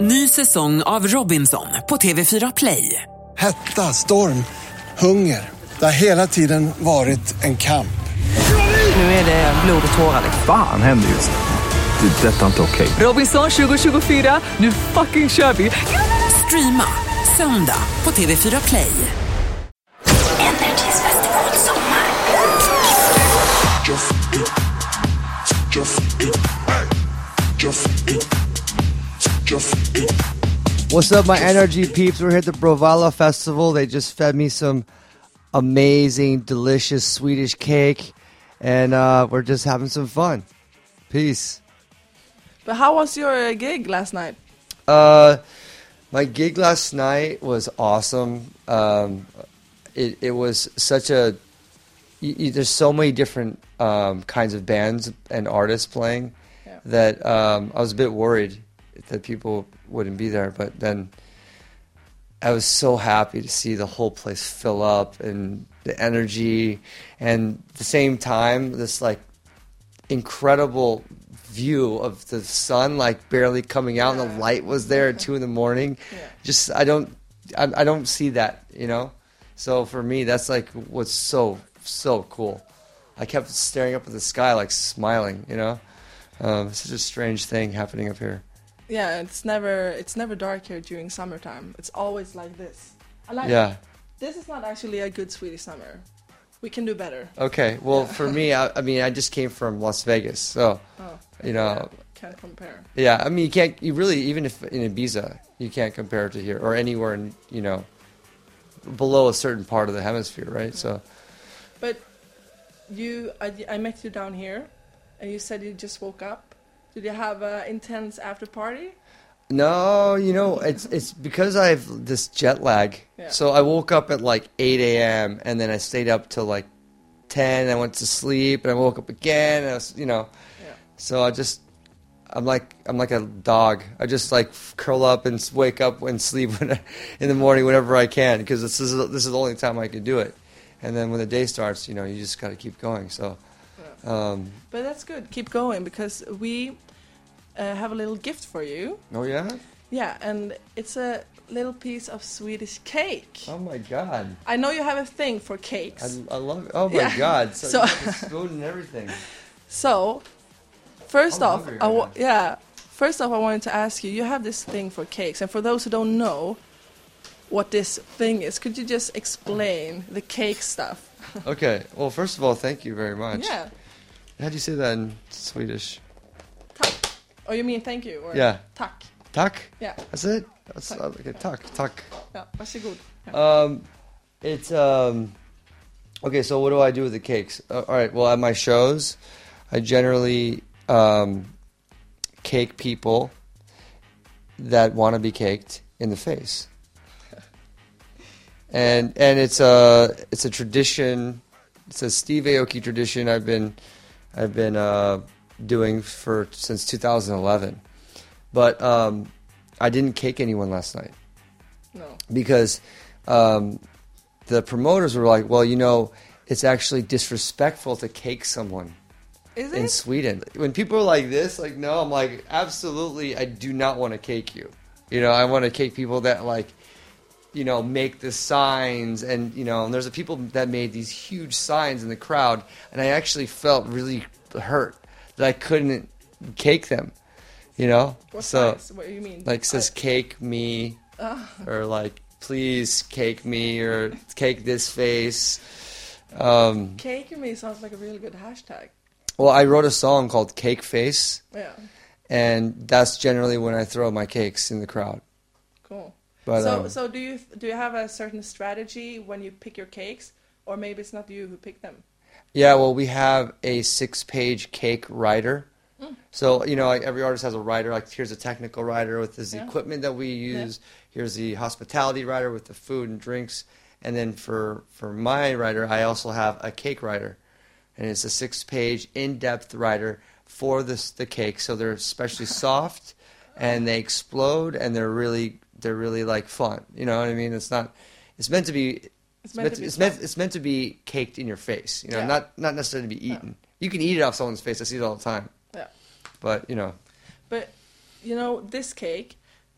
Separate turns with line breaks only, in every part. Ny säsong av Robinson på TV4 Play.
Hetta, storm, hunger. Det har hela tiden varit en kamp.
Nu är det blod och tårar.
Fan händer just nu. Det. är Detta är inte okej.
Robinson 2024, nu fucking kör vi! Streama söndag på TV4 Play.
Energys festival sommar.
What's up, my energy peeps? We're here at the Brovala Festival. They just fed me some amazing, delicious Swedish cake, and uh, we're just having some fun. Peace.
But how was your uh, gig last night?
Uh, my gig last night was awesome. Um, it, it was such a. You, you, there's so many different um, kinds of bands and artists playing that um, I was a bit worried that people wouldn't be there, but then I was so happy to see the whole place fill up and the energy, and at the same time, this like incredible view of the sun like barely coming out and the light was there at two in the morning just i don't I, I don't see that you know so for me that's like what's so so cool i kept staring up at the sky like smiling you know um, such a strange thing happening up here
Yeah, it's never it's never dark here during summertime. It's always like this. I like
yeah
This is not actually a good Swedish summer. We can do better.
Okay. Well, for me, I, I mean, I just came from Las Vegas, so
Oh,
you know,
can't compare.
yeah. I mean, you can't. You really, even if in Ibiza, you can't compare it to here or anywhere in you know below a certain part of the hemisphere, right? So
But you, I, I met you down here, and you said you just woke up. Did you have an intense after party?
no, you know, it's it's because I have this jet lag.
Yeah.
So I woke up at like 8 a.m. and then I stayed up till like 10. I went to sleep and I woke up again. And I was, you know.
Yeah.
So I just, I'm like, I'm like a dog. I just like curl up and s- wake up and sleep when I, in the morning whenever I can because this is this is the only time I can do it. And then when the day starts, you know, you just got to keep going. So, um,
But that's good. Keep going because we uh, have a little gift for you.
oh yeah,
Yeah, and it's a little piece of Swedish cake.
oh my god,
I know you have a thing for cakes.
I, I love it. Oh my
Yeah.
god, so,
So-
you got the spoon and everything.
So, 1st
I'm
off,
hungry
I
right
wa-
now.
yeah, first off, I wanted to ask you. You have this thing for cakes, and for those who don't know what this thing is, could you just explain the cake stuff?
Okay, well, first of all, thank you very much.
Yeah.
How do you say that in Swedish?
Tack. Oh, you mean thank you? Or
Yeah.
Tack.
Tack.
Yeah.
That's it. That's okay. Tack, tack.
Yeah. Varsågod. Yeah.
Um, it's um, okay. So what do I do with the cakes? Uh, all right. Well, at my shows, I generally um, cake people that want to be caked in the face, and and it's a it's a tradition. It's a Steve Aoki tradition. I've been I've been uh, doing for since 2011, but um, I didn't cake anyone last night
No.
because um, the promoters were like, well, you know, it's actually disrespectful to cake someone
Is
in
it?
Sweden. When people are like this, like, no, I'm like, absolutely, I do not want to cake you. You know, I want to cake people that like, you know, make the signs and you know, and there's a people that made these huge signs in the crowd, and I actually felt really hurt that I couldn't cake them. You know,
what
so
size? What do you mean?
like says cake me or like please cake me or cake this face um,
I, cake me sounds like a really good hashtag.
well i wrote a song called cake face
Yeah.
and that's generally when i throw my cakes in the crowd
Cool.
But,
so,
um,
so do you do you have a certain strategy when you pick your cakes, or maybe it's not you who pick them?
yeah well we have a six page cake writer so you know like every artist has a writer like here's a technical writer with this
Yeah.
equipment that we use here's the hospitality writer with the food and drinks and then for for my writer i also have a cake writer and it's a six page in depth writer for this the cake. So they're especially soft and they explode and they're really they're really like fun. You know what I mean? It's not it's meant to be it's meant, to, be it's, meant,
fun.
it's meant to be caked in your face, you know,
Yeah.
not not necessarily to be eaten. You can eat it off someone's face. I see it all the time,
Yeah.
but you know,
But you know, this cake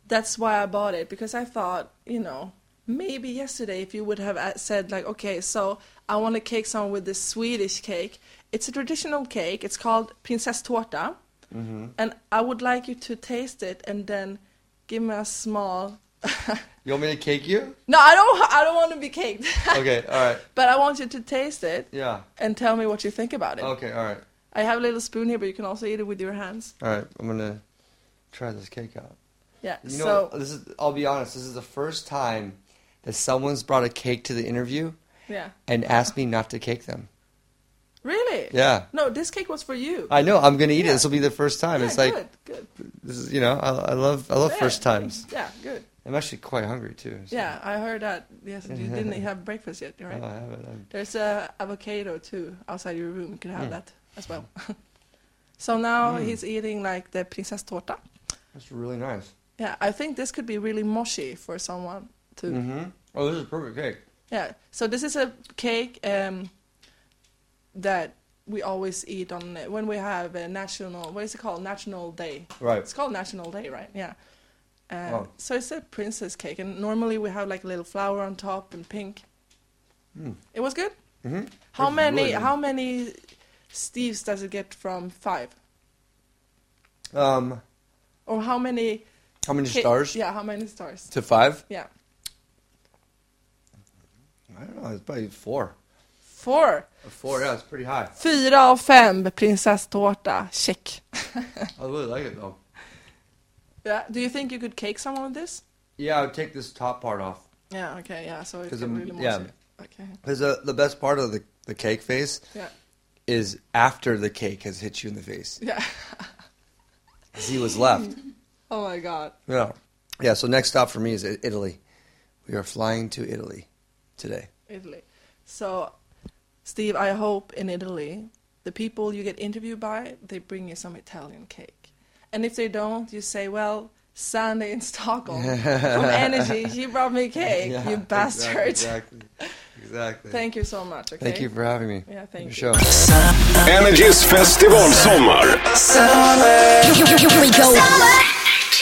That's why I bought it because I thought, you know, maybe yesterday if you would have a- said like, okay, so I want to cake someone with this Swedish cake. It's a traditional cake. It's called prinsesstårta,
Mm-hmm.
and I would like you to taste it and then give me a small.
You want me to cake you?
no, I don't. I don't want to be caked.
Okay, all right.
But I want you to taste it
Yeah.
and tell me what you think about it.
Okay, all right.
I have a little spoon here, but you can also eat it with your hands.
All right, I'm gonna try this cake out.
Yeah.
You know, uh,
so
this is. I'll be honest. This is the first time that someone's brought a cake to the interview
yeah.
and asked me not to cake them.
Really?
Yeah.
No, this cake was for you.
I know. I'm gonna eat it.
Yeah.
This will be the first time.
yeah,
it's like
good, good.
this is. You know, I, I love. I love
Yeah.
first times.
Yeah, good.
I'm actually quite hungry too. so-
Yeah, I heard that. Yes, you didn't have breakfast yet,
Oh,
right?
I have it. I'm-
There's a avocado too outside your room. You could
Mm.
have that as well. so now he's eating like the princess torta.
That's really nice.
Yeah, I think this could be really mushy for someone too.
Mm-hmm. Oh, this is perfect cake.
Yeah. So this is a cake um, that we always eat on uh, when we have a national. What is it called? National Day.
Right.
It's called National Day, right? Yeah. Uh,
Wow.
So it's a princess cake, and normally we have like a little flower on top and pink. It was good.
Mhm.
How
That's
many?
Hmm. really good.
How many Steves does it get from five?
Um,
Or how many
how many
ca-
stars?
Yeah, how many stars?
To five?
Yeah,
I don't know. It's probably four.
four.
A Four. Yeah, it's pretty high.
Fyra av fem prinsesstårta. Check.
I really like it though.
Yeah. Do you think you could cake someone with this?
Yeah, I would take this top part off.
Yeah, okay, yeah, so it's
'Cause
really
I'm-
mushy.
yeah.
Okay,
Because the, the best part of the, the cake face
yeah,
is after the cake has hit you in the face.
yeah.
'Cause he was left.
Oh my god.
yeah. Yeah, so next stop for me is I- Italy. We are flying to Italy today.
Italy. So, Steve, I hope in Italy, the people you get interviewed by, they bring you some Italian cake. And if they don't, you say, well, Sunday in Stockholm from Energy, she brought me cake,
Yeah,
you bastard.
Exactly. Exactly.
Thank you so much, okay?
Thank you for having me.
Yeah, thank
Your
you.
Show.
Energys festivalsommar.
Here we go.